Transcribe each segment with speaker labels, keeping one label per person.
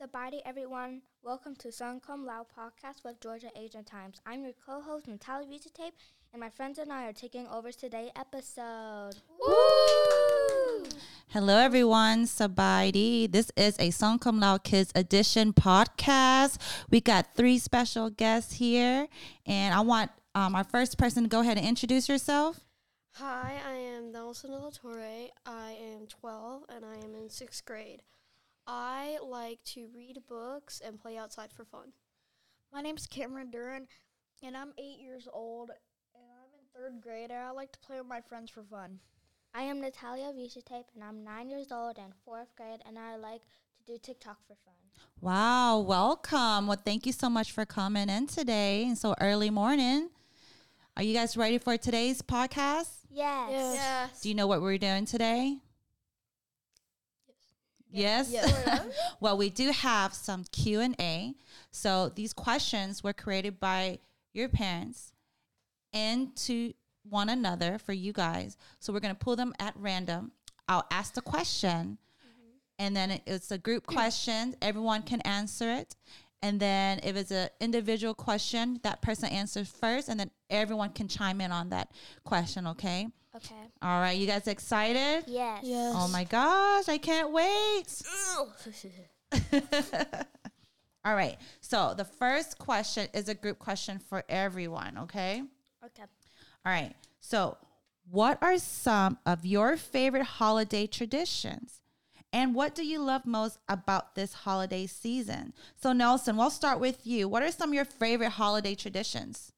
Speaker 1: everybody, everyone. Welcome to Sun Come Loud podcast with Georgia Asian Times. I'm your co-host Natalia Visitape, and my friends and I are taking over today's episode.
Speaker 2: Hello, everyone. Sabaidi. This is a Song Come Lao Kids Edition podcast. We got three special guests here, and I want um, our first person to go ahead and introduce yourself.
Speaker 3: Hi, I am Nelson De La Torre. I am 12 and I am in sixth grade. I like to read books and play outside for fun.
Speaker 4: My name's Cameron Duran, and I'm eight years old, and I'm in third grade, and I like to play with my friends for fun.
Speaker 1: I am Natalia Visitape, and I'm nine years old and fourth grade, and I like to do TikTok for fun.
Speaker 2: Wow, welcome. Well, thank you so much for coming in today and so early morning. Are you guys ready for today's podcast?
Speaker 1: Yes.
Speaker 2: Do you know what we're doing today? Yes. well, we do have some Q and A. So these questions were created by your parents and to one another for you guys. So we're going to pull them at random. I'll ask the question, and then it- it's a group question. Everyone can answer it. And then if it's an individual question, that person answers first, and then everyone can chime in on that question. Okay.
Speaker 1: Okay.
Speaker 2: All right. You guys excited?
Speaker 1: Yes.
Speaker 2: Oh my gosh, I can't wait. All right. So the first question is a group question for everyone, okay?
Speaker 1: Okay.
Speaker 2: All right. So, what are some of your favorite holiday traditions? And what do you love most about this holiday season? So, Nelson, we'll start with you. What are some of your favorite holiday traditions?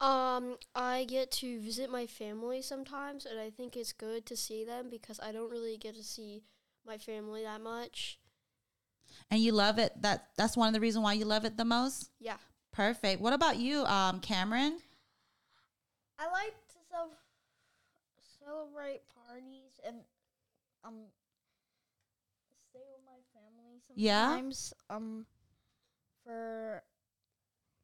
Speaker 3: Um, I get to visit my family sometimes, and I think it's good to see them because I don't really get to see my family that much.
Speaker 2: And you love it. That that's one of the reasons why you love it the most.
Speaker 3: Yeah.
Speaker 2: Perfect. What about you, um, Cameron?
Speaker 4: I like to cel- celebrate parties and um stay with my family
Speaker 2: Yeah?
Speaker 4: sometimes um for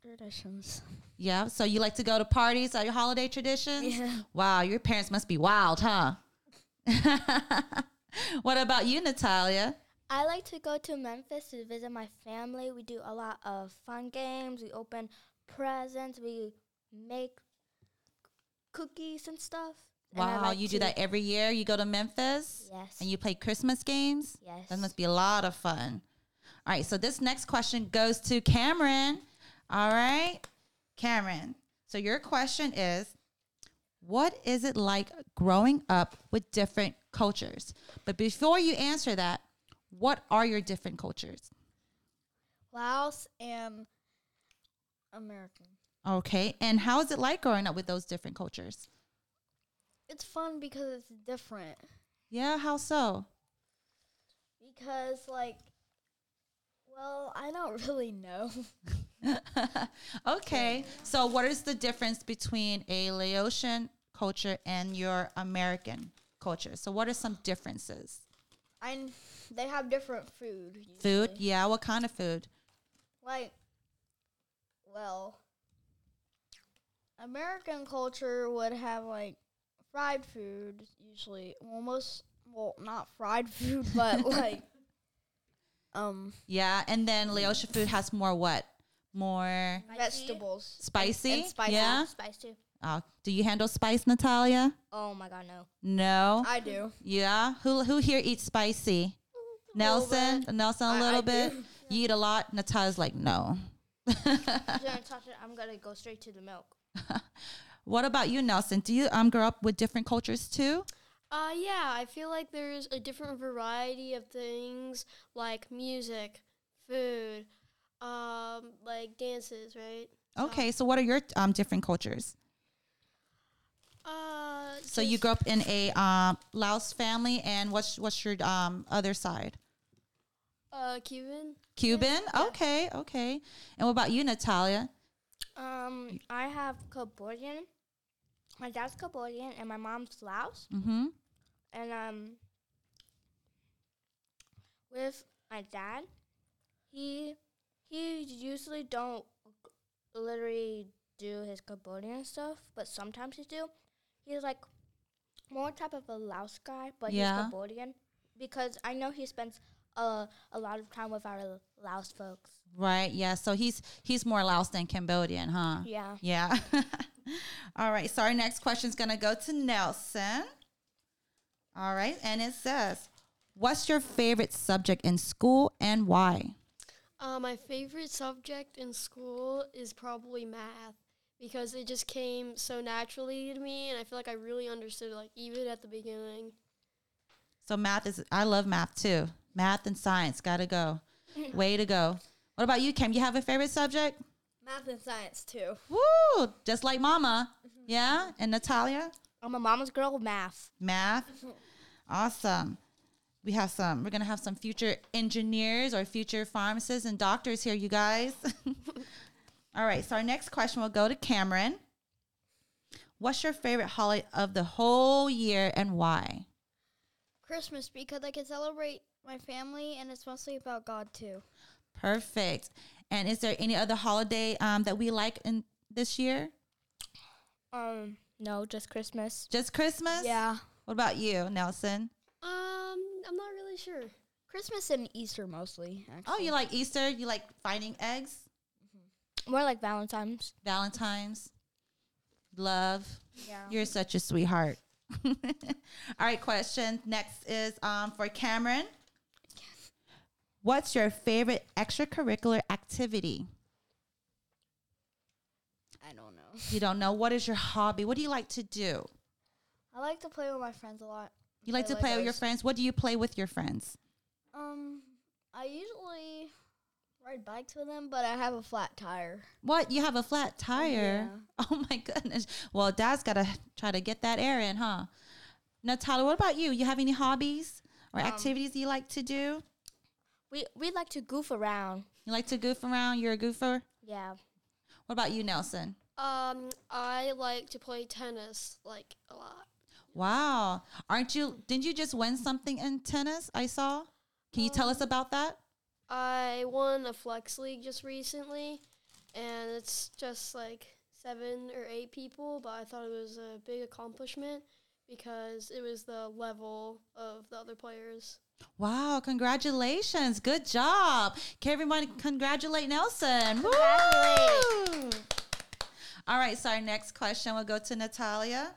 Speaker 4: traditions.
Speaker 2: Yeah. So you like to go to parties? Are your holiday traditions? Wow, your parents must be wild, huh? what about you, Natalia?
Speaker 1: I like to go to Memphis to visit my family. We do a lot of fun games. We open presents. We make cookies and stuff. And I
Speaker 2: Wow,
Speaker 1: like
Speaker 2: you
Speaker 1: to-
Speaker 2: do that every year. You go to Memphis
Speaker 1: Yes.
Speaker 2: and you play Christmas games.
Speaker 1: Yes.
Speaker 2: That must be a lot of fun. All right, so this next question goes to Cameron. All right, Cameron. So your question is What is it like growing up with different cultures? But before you answer that, what are your different cultures?
Speaker 4: Laos and American.
Speaker 2: Okay. And how is it like growing up with those different cultures?
Speaker 4: It's fun because it's different.
Speaker 2: Yeah, how so?
Speaker 4: Because like well, I don't really know.
Speaker 2: okay. So what is the difference between a Laotian culture and your American culture? So what are some differences?
Speaker 4: I kn- they have different food. Usually.
Speaker 2: Food? Yeah, what kind of food?
Speaker 4: Like, well, American culture would have like fried food usually. Well, most well not fried food, but like um
Speaker 2: Yeah, and then Laotian food has more what? More
Speaker 4: vegetables.
Speaker 2: spicy?
Speaker 4: and spicy.
Speaker 2: Yeah.
Speaker 1: Spice too.
Speaker 2: Oh, do you handle spice, Natalia?
Speaker 1: Oh my god, no.
Speaker 2: No.
Speaker 4: I do.
Speaker 2: Yeah. Who who here eats spicy? Nelson. Nelson a
Speaker 4: I- I
Speaker 2: little
Speaker 4: do.
Speaker 2: bit. You eat a lot. Natalia's like, no.
Speaker 1: I'm gonna touch it. I'm gonna go straight to the milk.
Speaker 2: What about you, Nelson? Do you um grow up with different cultures too?
Speaker 3: Uh, yeah, I feel like there's a different variety of things like music, food, um, like dances, right?
Speaker 2: Okay, so what are your um different cultures?
Speaker 3: Uh,
Speaker 2: So you grew up in a um Laos family, and what's what's your um other side?
Speaker 3: uh, Cuban.
Speaker 2: Cuban. Okay, okay. And what about you, Natalia?
Speaker 1: Um, I have Cambodian. My dad's Cambodian and my mom's Laos,
Speaker 2: Mm-hmm.
Speaker 1: and um, with my dad, he he usually don't literally do his Cambodian stuff, but sometimes he do. He's like more type of a Laos guy, but
Speaker 2: Yeah.
Speaker 1: he's Cambodian because I know he spends uh, a lot of time with our Laos folks.
Speaker 2: Right. Yeah. So he's he's more Laos than Cambodian, huh?
Speaker 1: Yeah.
Speaker 2: Yeah. All right. So our next question is going to go to Nelson. All right. And it says, What's your favorite subject in school and why?
Speaker 3: Uh, my favorite subject in school is probably math because it just came so naturally to me, and I feel like I really understood like even at the beginning.
Speaker 2: So math is, I love math too. Math and science. Got to go. Way to go. What about you, Kim? You have a favorite subject?
Speaker 4: Math and science too.
Speaker 2: Woo! Just like mama. Yeah. And Natalia?
Speaker 1: I'm a mama's girl with math.
Speaker 2: math. Awesome. We have some, we're going to have some future engineers or future pharmacists and doctors here, you guys. All right. So our next question will go to Cameron. What's your favorite holiday of the whole year and why?
Speaker 4: Christmas because I can celebrate my family and it's mostly about God too.
Speaker 2: Perfect. And is there any other holiday um, that we like in this year?
Speaker 1: Um, no, just Christmas.
Speaker 2: Just Christmas?
Speaker 1: Yeah.
Speaker 2: What about you, Nelson?
Speaker 3: Um, I'm not really sure.
Speaker 4: Christmas and Easter mostly.
Speaker 2: Oh, you like Easter? You like finding eggs?
Speaker 1: More like Valentine's.
Speaker 2: Valentine's? Love?
Speaker 4: Yeah.
Speaker 2: You're such a sweetheart. All right, question next is um, for Cameron. What's your favorite extracurricular activity?
Speaker 4: I don't know.
Speaker 2: You don't know. What is your hobby? What do you like to do?
Speaker 4: I like to play with my friends a lot.
Speaker 2: You like to play with your
Speaker 4: Legos.
Speaker 2: friends. What do you play with your friends?
Speaker 4: Um, I usually ride bikes with them, but I have a flat tire.
Speaker 2: What? You have a flat tire? Oh my goodness. Well, dad's got to try to get that air in, huh? Natalia, what about you? You have any hobbies or activities you like to do?
Speaker 1: We we like to goof around.
Speaker 2: You like to goof around? You're a goofer?
Speaker 1: Yeah.
Speaker 2: What about you, Nelson?
Speaker 3: Um, I like to play tennis like a lot.
Speaker 2: Wow. Aren't you didn't you just win something in tennis? I saw. Can you tell us about that?
Speaker 3: I won a flex league just recently, and it's just like seven or eight people, but I thought it was a big accomplishment because it was the level of the other players.
Speaker 2: Wow, congratulations. Good job. Can everyone congratulate Nelson? Woo! All right, so our next question will go to Natalia.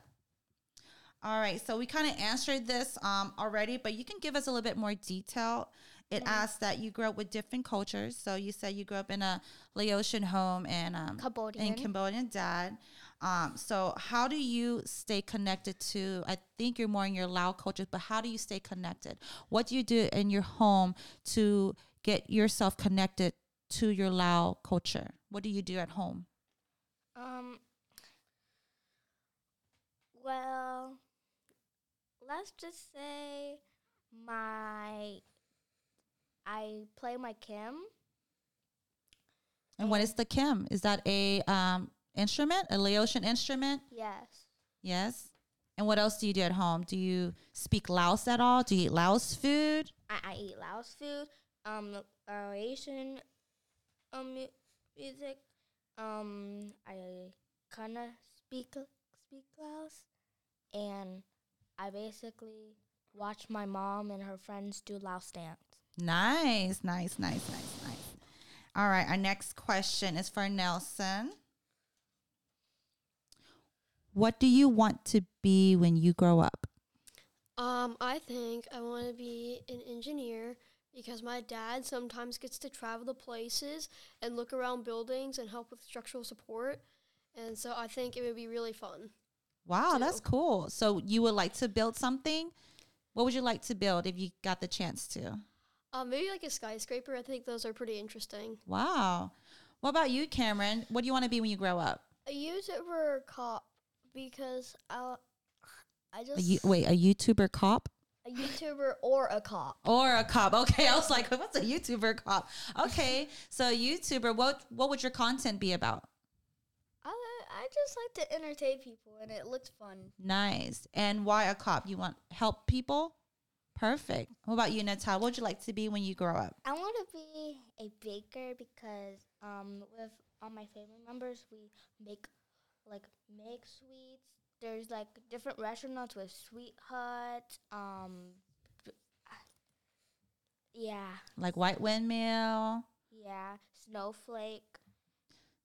Speaker 2: All right, so we kind of answered this um, already, but you can give us a little bit more detail. It asks that you grew up with different cultures. So you said you grew up in a Laotian home and um,
Speaker 1: Cambodian.
Speaker 2: and Cambodian dad. Um, so how do you stay connected to? I think you're more in your Lao culture, but how do you stay connected? What do you do in your home to get yourself connected to your Lao culture? What do you do at home?
Speaker 1: Um. Well, let's just say my I play my Kim.
Speaker 2: And what is the Kim? Is that a um, instrument, a Laotian instrument?
Speaker 1: Yes.
Speaker 2: Yes. And what else do you do at home? Do you speak Laos at all? Do you eat Laos food?
Speaker 1: I, I eat Laos food, um, uh, Asian um, mu- music. Um, I kind of speak speak Laos, and I basically watch my mom and her friends do Laos dance.
Speaker 2: Nice, nice, nice, nice, nice. All right, our next question is for Nelson. What do you want to be when you grow up?
Speaker 3: Um, I think I want to be an engineer because my dad sometimes gets to travel to places and look around buildings and help with structural support. And so I think it would be really fun.
Speaker 2: Wow,
Speaker 3: Two.
Speaker 2: that's cool. So you would like to build something? What would you like to build if you got the chance to?
Speaker 3: Um, maybe like a skyscraper. I think those are pretty interesting.
Speaker 2: Wow. What about you, Cameron? What do you want to be when you grow up?
Speaker 4: A YouTuber cop because I, I
Speaker 2: A
Speaker 4: just
Speaker 2: you, wait, a YouTuber cop?
Speaker 4: a YouTuber or a cop.
Speaker 2: Or a cop. Okay, I was like, what's a YouTuber cop? Okay, so YouTuber, what what would your content be about?
Speaker 4: I I just like to entertain people and it looks fun.
Speaker 2: Nice. And why a cop? You want help people? Perfect. What about you, Natal? What would you like to be when you grow up?
Speaker 1: I want to be a baker because um, with all my family members, we make like make sweets. There's like different restaurants with Sweet Hut, um, b- Yeah.
Speaker 2: like White Windmill.
Speaker 1: Yeah, Snowflake.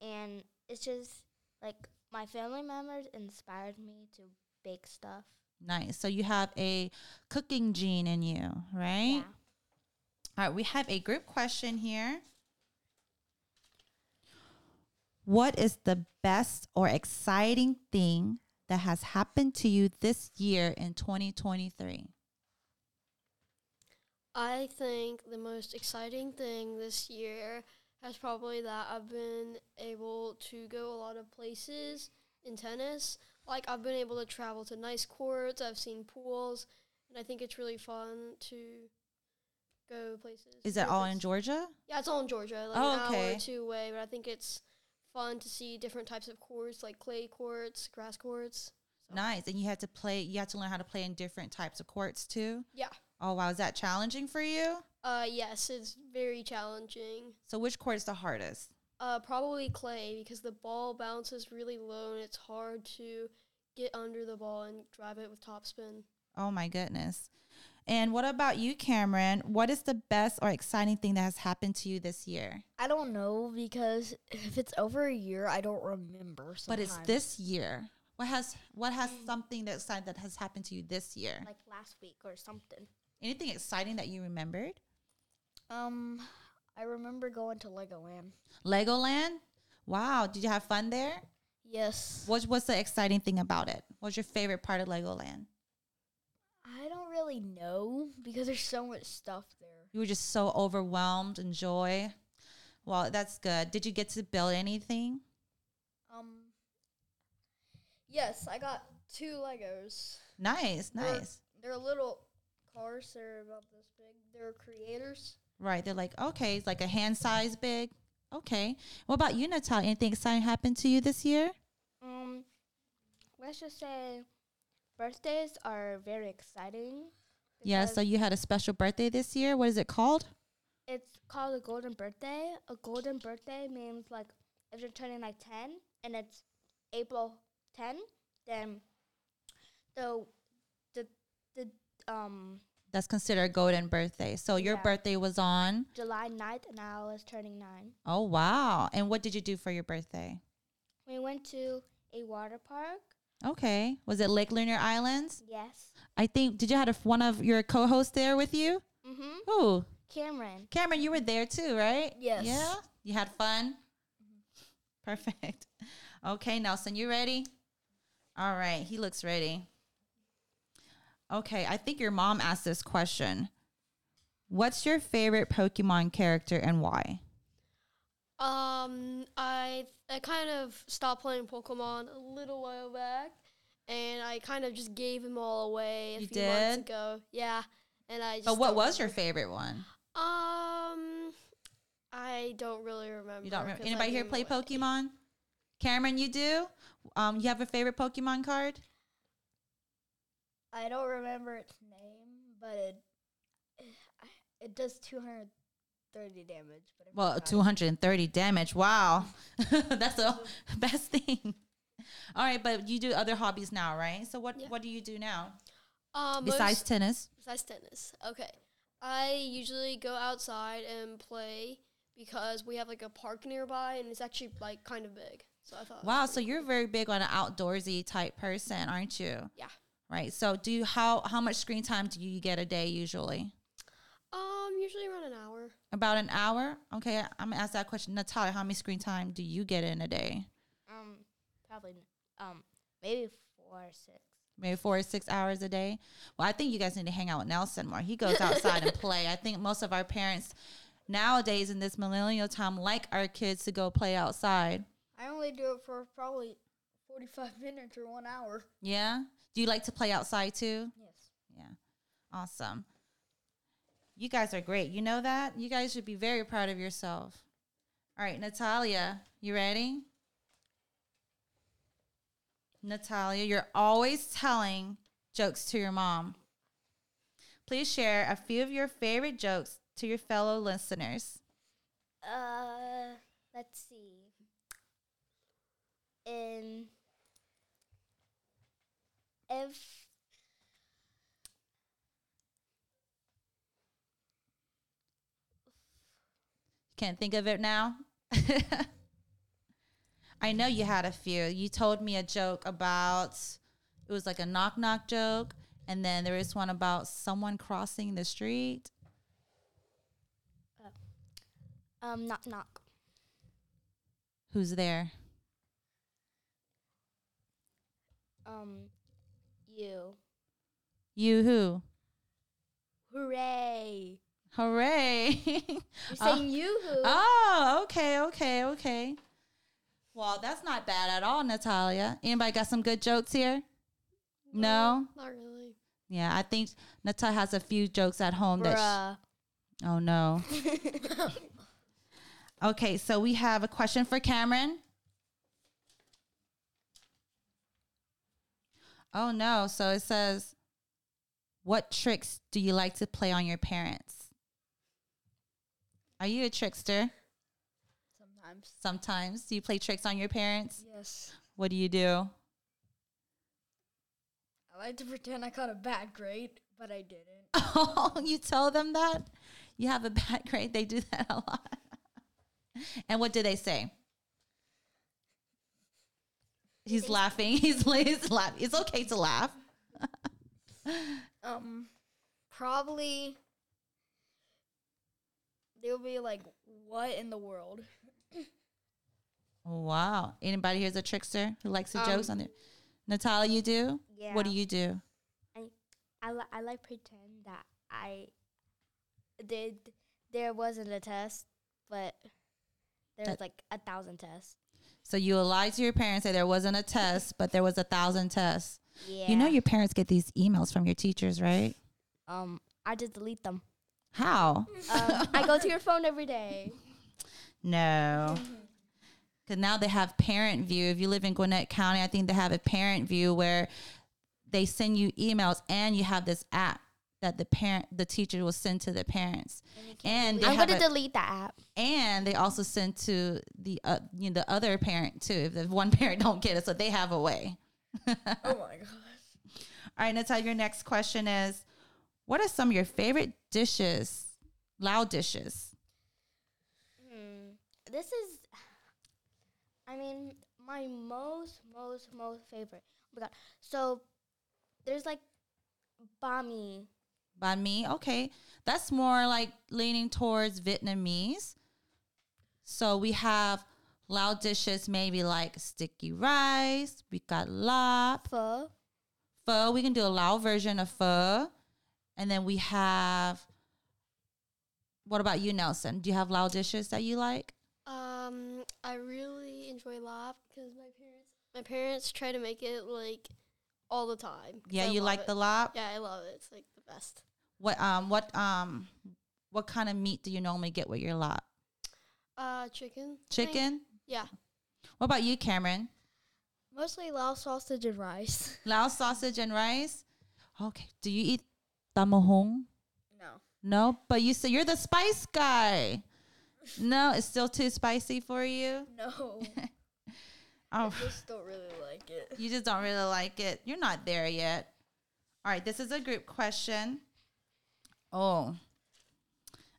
Speaker 1: And it's just like my family members inspired me to bake stuff.
Speaker 2: Nice. So you have a cooking gene in you, right?
Speaker 1: Yeah.
Speaker 2: All right, we have a group question here. What is the best or exciting thing that has happened to you this year in 2023?
Speaker 3: I think the most exciting thing this year has probably that I've been able to go a lot of places in tennis. Like I've been able to travel to nice courts, I've seen pools, and I think it's really fun to go places.
Speaker 2: Is that
Speaker 3: with
Speaker 2: all
Speaker 3: this.
Speaker 2: in Georgia?
Speaker 3: Yeah, it's all in Georgia, like
Speaker 2: Oh,
Speaker 3: an hour
Speaker 2: okay.
Speaker 3: or two away, but I think it's fun to see different types of courts, like clay courts, grass courts. So-
Speaker 2: Nice. And you had to play, you had to learn how to play in different types of courts too?
Speaker 3: Yeah.
Speaker 2: Oh, wow. Is that challenging for you?
Speaker 3: Uh yes, it's very challenging.
Speaker 2: So, which court is the hardest?
Speaker 3: Uh, probably clay because the ball bounces really low and it's hard to get under the ball and drive it with topspin.
Speaker 2: Oh, my goodness. And what about you, Cameron? What is the best or exciting thing that has happened to you this year?
Speaker 4: I don't know because if it's over a year, I don't remember. Sometimes.
Speaker 2: But it's this year. What has what has something that exciting that has happened to you this year?
Speaker 1: Like last week or something.
Speaker 2: Anything exciting that you remembered?
Speaker 4: Um, I remember going to Legoland.
Speaker 2: Legoland. Wow, did you have fun there?
Speaker 4: Yes.
Speaker 2: What was the exciting thing about it? What's your favorite part of Legoland?
Speaker 4: I don't really know because there's so much stuff there.
Speaker 2: You were just so overwhelmed and joy. Well, that's good. Did you get to build anything?
Speaker 4: Um. Yes, I got two Legos.
Speaker 2: Nice,
Speaker 4: They're-
Speaker 2: nice.
Speaker 4: They're little cars. They're about this big. They're creators.
Speaker 2: Right. They're like, okay, it's like a hand size big. Okay. What about you, Natalia? Anything exciting happened to you this year?
Speaker 1: Um, let's just say birthdays are very exciting.
Speaker 2: Yeah,
Speaker 1: because
Speaker 2: so you had a special birthday this year. What is it called?
Speaker 1: it's called a golden birthday. A golden birthday means like if you're turning like 10 and it's April 10, then the the the um
Speaker 2: That's considered a golden birthday. So your
Speaker 1: Yeah.
Speaker 2: birthday was on.
Speaker 1: July 9th and I was turning 9.
Speaker 2: Oh wow. And what did you do for your birthday?
Speaker 1: We went to a water park.
Speaker 2: Okay. Was it Lake Lunar Islands?
Speaker 1: Yes.
Speaker 2: I think did you had a, one of your co-hosts there with you?
Speaker 1: Mhm.
Speaker 2: Who?
Speaker 1: Cameron.
Speaker 2: Cameron, you were there too, right?
Speaker 4: Yes.
Speaker 2: Yeah. You had fun? Perfect. Okay, Nelson, you ready? All right, he looks ready. Okay, I think your mom asked this question. What's your favorite Pokemon character and why?
Speaker 3: Um, I I kind of stopped playing Pokemon a little while back, and I kind of just gave them all away a
Speaker 2: You
Speaker 3: few months
Speaker 2: did?
Speaker 3: ago. Yeah, and I. Just
Speaker 2: But what
Speaker 3: don't
Speaker 2: was your
Speaker 3: remember.
Speaker 2: favorite one?
Speaker 3: Um, I don't really remember.
Speaker 2: You don't remember?
Speaker 3: 'cause I
Speaker 2: Anybody here
Speaker 3: gave 'em
Speaker 2: play
Speaker 3: away.
Speaker 2: Pokemon? Cameron, you do? Um, you have a favorite Pokemon card?
Speaker 4: I don't remember its name, but it it does 230 damage. But I
Speaker 2: Well,
Speaker 4: forgot it.
Speaker 2: 230 damage. Wow. That's the best thing. All right, but you do other hobbies now, right? So what
Speaker 3: Yeah.
Speaker 2: what do you do now?
Speaker 3: Um,
Speaker 2: Besides
Speaker 3: most-
Speaker 2: tennis?
Speaker 3: Besides tennis. Okay. I usually go outside and play because we have like a park nearby and it's actually like kind of big. So I thought.
Speaker 2: Wow, so you're very big on an outdoorsy type person, aren't you?
Speaker 3: Yeah.
Speaker 2: Right. So do you, how how much screen time do you get a day usually?
Speaker 3: Um, usually around an hour.
Speaker 2: About an hour? Okay, I'm gonna ask that question. Natalia, how many screen time do you get in a day?
Speaker 1: Um probably um maybe 4 or 6.
Speaker 2: maybe four or six hours a day. Well, I think you guys need to hang out with Nelson more. He goes outside and play. I think most of our parents nowadays in this millennial time like our kids to go play outside.
Speaker 4: I only do it for probably 45 minutes or one hour.
Speaker 2: Yeah. Do you like to play outside too?
Speaker 4: Yes.
Speaker 2: Yeah. Awesome. You guys are great. You know that? You guys should be very proud of yourself. All right, Natalia, you ready? Natalia, you're always telling jokes to your mom. Please share a few of your favorite jokes to your fellow listeners.
Speaker 1: Uh let's see. In if
Speaker 2: Can't think of it now. I know you had a few. You told me a joke about it was like a knock knock joke, and then there was one about someone crossing the street.
Speaker 1: Um, knock knock.
Speaker 2: Who's there?
Speaker 1: Um, you.
Speaker 2: You who?
Speaker 1: Hooray!
Speaker 2: Hooray!
Speaker 1: You're
Speaker 2: Oh.
Speaker 1: saying you who?
Speaker 2: oh, okay, okay, okay. Well, that's not bad at all, Natalia. Anybody got some good jokes here? No.
Speaker 3: Not really.
Speaker 2: Yeah, I think Natalia has a few jokes at home that. She,
Speaker 1: Bruh.
Speaker 2: Oh no. okay, so we have a question for Cameron. Oh no. So it says, What tricks do you like to play on your parents? Are you a trickster?
Speaker 4: Sometimes.
Speaker 2: Sometimes. Do you play tricks on your parents?
Speaker 4: Yes.
Speaker 2: What do you do?
Speaker 4: I like to pretend I caught a bad grade, but I didn't.
Speaker 2: Oh, you tell them that? You have a bad grade. They do that a lot. and what do they say? He's laughing. He's, la- he's laughing. It's okay to laugh.
Speaker 4: Um, probably they'll be like, "What in the world?"
Speaker 2: Wow. Anybody here's a trickster who likes the
Speaker 1: Um,
Speaker 2: jokes on there? Natalia, you do? What do
Speaker 1: Yeah.
Speaker 2: you do?
Speaker 1: I, li- I like pretend that I did. There wasn't a test, but there was
Speaker 2: That-
Speaker 1: like a thousand tests.
Speaker 2: So you lie to your parents, say there wasn't a test, but there was a thousand tests.
Speaker 1: Yeah.
Speaker 2: You know your parents get these emails from your teachers, right?
Speaker 1: Um, I just delete them.
Speaker 2: How?
Speaker 1: Um, I go to your phone every day.
Speaker 2: No. Because now they have parent view. If you live in Gwinnett County, I think they have a parent view where they send you emails and you have this app that the parent the teacher will send to the parents. And they
Speaker 1: I'm
Speaker 2: have
Speaker 1: gonna
Speaker 2: a-
Speaker 1: delete that app.
Speaker 2: and they also send to the uh, you know, the other parent too if the one parent don't get it so they have a way.
Speaker 4: oh my god.
Speaker 2: All right, Natalia, your next question is what are some of your favorite dishes? Loud dishes.
Speaker 1: Hmm. This is, I mean, my most, most, most favorite. Oh my god! So there's like bami.
Speaker 2: Banh mi, okay. That's more like leaning towards Vietnamese. So we have loud dishes, maybe like sticky rice. We got lap.
Speaker 1: Pho.
Speaker 2: Pho, we can do a loud version of pho. And then we have, what about you, Nelson? Do you have loud dishes that you like?
Speaker 3: Um, I really enjoy lab because my parents my parents try to make it like all the time. 'cause
Speaker 2: Yeah,
Speaker 3: I
Speaker 2: you
Speaker 3: love
Speaker 2: like
Speaker 3: it.
Speaker 2: the lap?
Speaker 3: Yeah, I love it. It's like the best.
Speaker 2: What um what um what kind of meat do you normally get with your lap?
Speaker 3: Uh, chicken. I think.
Speaker 2: Chicken?
Speaker 3: Yeah.
Speaker 2: What about you, Cameron?
Speaker 4: Mostly Lao sausage and rice.
Speaker 2: Lao sausage and rice. Okay. Do you eat tamahong?
Speaker 4: No.
Speaker 2: No, but you say you're the spice guy. No, it's still too spicy for you.
Speaker 4: No. I
Speaker 2: Oh,
Speaker 4: just don't really like it.
Speaker 2: you just don't really like it. You're not there yet. All right, this is a group question. Oh,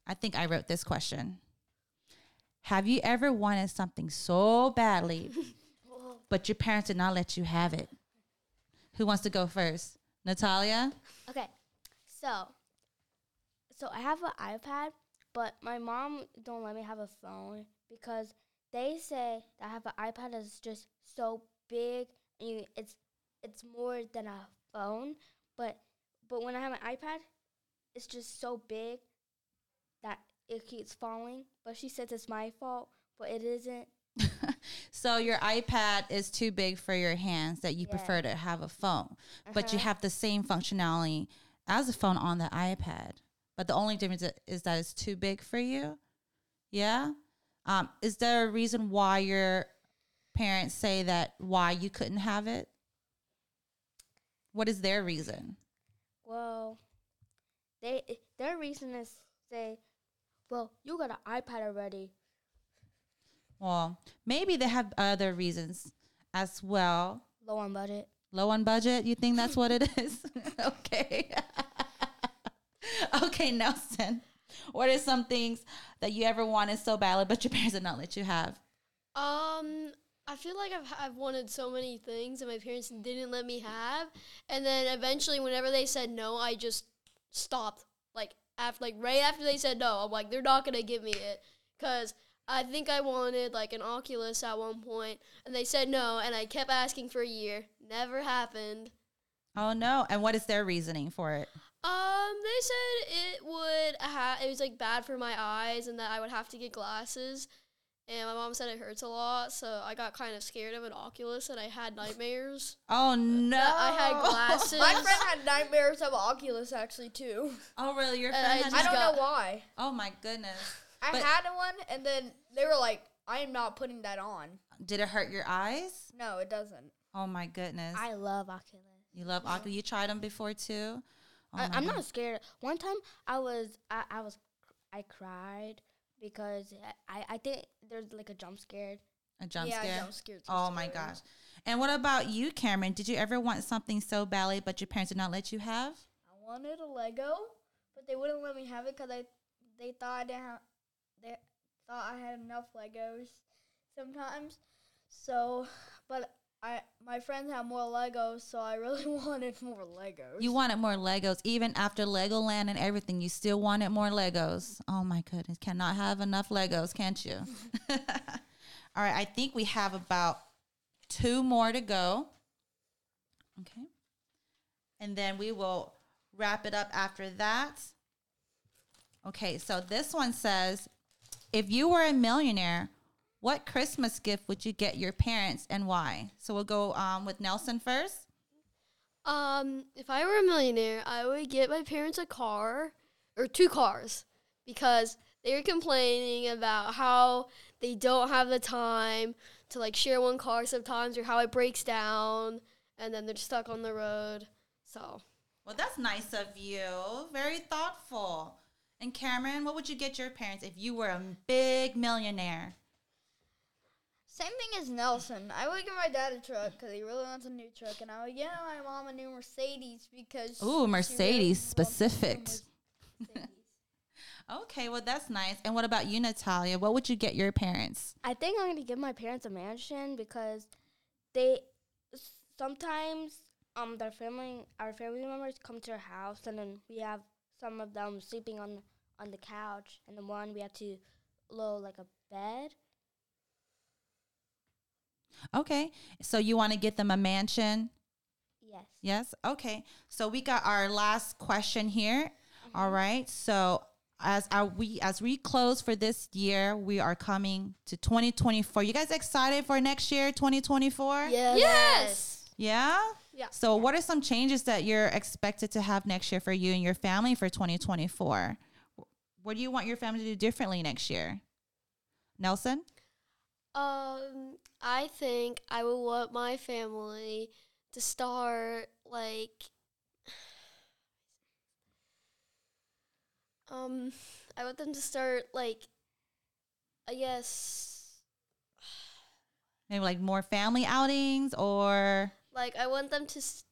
Speaker 2: I think I wrote this question. Have you ever wanted something so badly, but your parents did not let you have it? Who wants to go first? Natalia?
Speaker 1: Okay, so so I have an iPad, but my mom don't let me have a phone because they say that I have an iPad that's just so big and you, it's it's more than a phone. But but when I have an iPad, it's just so big that it keeps falling. But she says it's my fault, but it isn't.
Speaker 2: So your iPad is too big for your hands that you
Speaker 1: Yeah.
Speaker 2: prefer to have a phone, but you
Speaker 1: Uh-huh.
Speaker 2: have the same functionality as a phone on the iPad. But the only difference i- is that it's too big for you. Yeah. Um, is there a reason why your parents say that why you couldn't have it? What is their reason?
Speaker 1: Well, they their reason is say, well, you got an iPad already.
Speaker 2: Well, maybe they have other reasons as well.
Speaker 1: low on budget.
Speaker 2: Low on budget? You think that's what it is? okay. okay, Nelson. What are some things that you ever wanted so badly, but your parents did not let you have?
Speaker 3: Um, I feel like I've, I've wanted so many things that my parents didn't let me have, and then eventually, whenever they said no, I just stopped. Like after, like right after they said no, I'm like, they're not gonna give me it, cause I think I wanted like an Oculus at one point, and they said no, and I kept asking for a year, never happened.
Speaker 2: Oh no! And what is their reasoning for it?
Speaker 3: Um, they said it would ha- it was like bad for my eyes, and that I would have to get glasses. And my mom said it hurts a lot, so I got kind of scared of an Oculus, and I had nightmares.
Speaker 2: Oh no!
Speaker 3: that I had glasses.
Speaker 4: My friend had nightmares of Oculus actually too.
Speaker 2: oh really? Your
Speaker 3: And I
Speaker 2: friend had
Speaker 3: just
Speaker 4: I don't
Speaker 3: got-
Speaker 4: know why.
Speaker 2: Oh my goodness!
Speaker 4: I
Speaker 2: But-
Speaker 4: had one, and then they were like, "I am not putting that on."
Speaker 2: Did it hurt your eyes?
Speaker 4: No, it doesn't.
Speaker 2: Oh my goodness!
Speaker 1: I love Oculus.
Speaker 2: you love Oculus. You tried them before too. Oh,
Speaker 1: I,
Speaker 2: my
Speaker 1: I'm
Speaker 2: God.
Speaker 1: not scared. One time I was I, I was I cried because I, I think there's like a jump scare.
Speaker 2: a jump
Speaker 4: yeah,
Speaker 2: scare.
Speaker 4: jump scared.
Speaker 2: Oh my gosh! And what about you, Cameron? Did you ever want something so badly, but your parents did not let you have?
Speaker 4: I wanted a Lego, but they wouldn't let me have it because I they thought I didn't have, they thought I had enough Legos sometimes. So, but I my friends have more Legos, so I really wanted more Legos.
Speaker 2: You wanted more Legos, even after Legoland and everything. You still wanted more Legos. Oh my goodness! Cannot have enough Legos, can't you? All right, I think we have about two more to go. Okay, and then we will wrap it up after that. Okay, so this one says, if you were a millionaire, what Christmas gift would you get your parents and why? So we'll go um, with Nelson first.
Speaker 3: Um, if I were a millionaire, I would get my parents a car or two cars because they were complaining about how they don't have the time to like share one car sometimes or how it breaks down and then they're stuck on the road. So,
Speaker 2: Well, that's nice of you. Very thoughtful. And Cameron, what would you get your parents if you were a big millionaire?
Speaker 4: Same thing as Nelson. I would give my dad a truck because he really wants a new truck, and I would get my mom a new Mercedes because she
Speaker 2: Ooh,
Speaker 4: really
Speaker 2: Mercedes
Speaker 4: wants a new
Speaker 2: specific.
Speaker 4: Mercedes.
Speaker 2: Okay, well, that's nice. And what about you, Natalia? What would you get your parents?
Speaker 1: I think I'm gonna give my parents a mansion because they sometimes um their family our family members come to our house and then we have some of them sleeping on on the couch and the one we have to low like a bed.
Speaker 2: Okay, so you want to get them a mansion?
Speaker 1: Yes.
Speaker 2: Yes. Okay. So we got our last question here. All right. So as our, we as we close for this year, we are coming to 2024. You guys excited for next year, 2024?
Speaker 4: Yes.
Speaker 3: Yes.
Speaker 2: Yeah?
Speaker 3: Yeah.
Speaker 2: So, what are some changes that you're expected to have next year for you and your family for 2024? What do you want your family to do differently next year? Nelson?
Speaker 3: um, I think I would want my family to start like um I want them to start like I guess
Speaker 2: Maybe like more family outings, or
Speaker 3: like I want them to s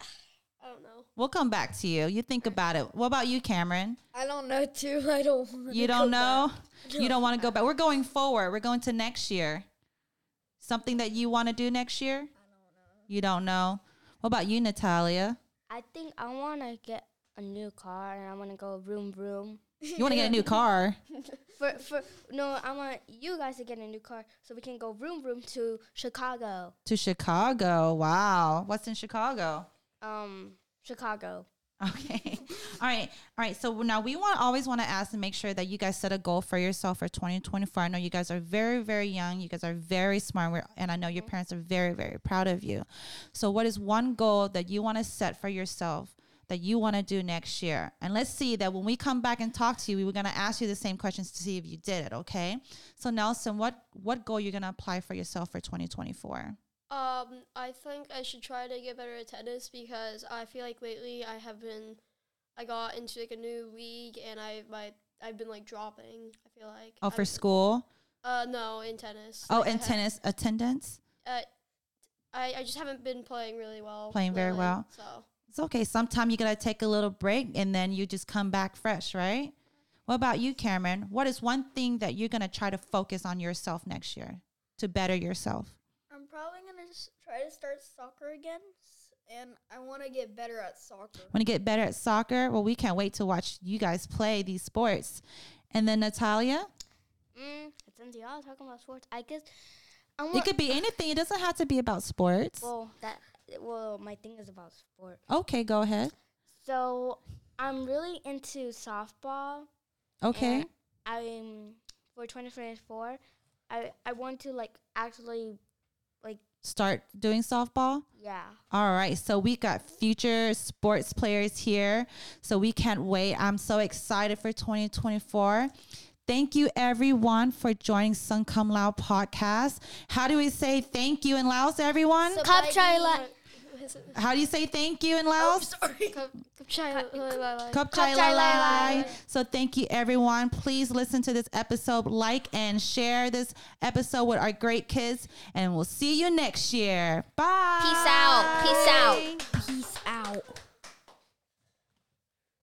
Speaker 3: I don't know.
Speaker 2: we'll come back to you. You think about it. What about you, Cameron?
Speaker 4: I don't know too. I don't. wanna
Speaker 2: You don't
Speaker 4: go
Speaker 2: know?
Speaker 4: back.
Speaker 2: You don't want to go back. We're going forward, we're going to next year. Something that you want to do next year? I don't know. You don't know? What about you, Natalia?
Speaker 1: I think I wanna get a new car and I wanna go room room.
Speaker 2: You want to get a new car?
Speaker 1: For for no, I want you guys to get a new car so we can go room room to Chicago.
Speaker 2: To Chicago. Wow. What's in Chicago?
Speaker 1: Um Chicago.
Speaker 2: Okay. All right. All right. So now we want always want to ask and make sure that you guys set a goal for yourself for 2024. I know you guys are very, very young. You guys are very smart. We're, and I know your parents are very, very proud of you. So, what is one goal that you want to set for yourself that you want to do next year? And let's see that when we come back and talk to you, we were going to ask you the same questions to see if you did it. Okay. So, Nelson, what, what goal you're going to apply for yourself for 2024?
Speaker 3: Um, I think I should try to get better at tennis because I feel like lately I have been, I got into like a new league and I my I've been like dropping. I feel like
Speaker 2: Oh, for
Speaker 3: I'm-
Speaker 2: school?
Speaker 3: Uh, no, in tennis.
Speaker 2: Oh,
Speaker 3: Like, I
Speaker 2: and
Speaker 3: ha-
Speaker 2: tennis attendance?
Speaker 3: Uh, I I just haven't been playing really well.
Speaker 2: Playing very
Speaker 3: lately,
Speaker 2: well.
Speaker 3: So
Speaker 2: It's okay. Sometime you gotta take a little break and then you just come back fresh, right? What about you, Cameron? What is one thing that you're going to try to focus on yourself next year to better yourself?
Speaker 4: I'm probably gonna s- try to start soccer again, s- and I want to get better at soccer.
Speaker 2: Want to get better at soccer? Well, we can't wait to watch you guys play these sports. And then Natalia,
Speaker 1: Mm, since y'all talking about sports, I guess I
Speaker 2: it
Speaker 1: want.
Speaker 2: could be anything. It doesn't have to be about sports.
Speaker 1: well, that well, my thing is about sport.
Speaker 2: Okay, go ahead.
Speaker 1: So I'm really into softball.
Speaker 2: Okay.
Speaker 1: and I'm for 2024. I I want to like actually
Speaker 2: Start doing softball.
Speaker 1: yeah.
Speaker 2: All right, so we got future sports players here, so we can't wait. I'm so excited for 2024. Thank you, everyone, for joining Sun Come Lao podcast. How do we say thank you in Laos, everyone?
Speaker 1: Cup try
Speaker 4: Sabaidi-
Speaker 2: How do you say thank you in Laos? Cup chai
Speaker 1: Cup chai lai
Speaker 2: lai.
Speaker 1: lai.
Speaker 2: So thank you, everyone. Please listen to this episode, like and share this episode with our great kids, and we'll see you next year. Bye.
Speaker 1: Peace out. Peace out.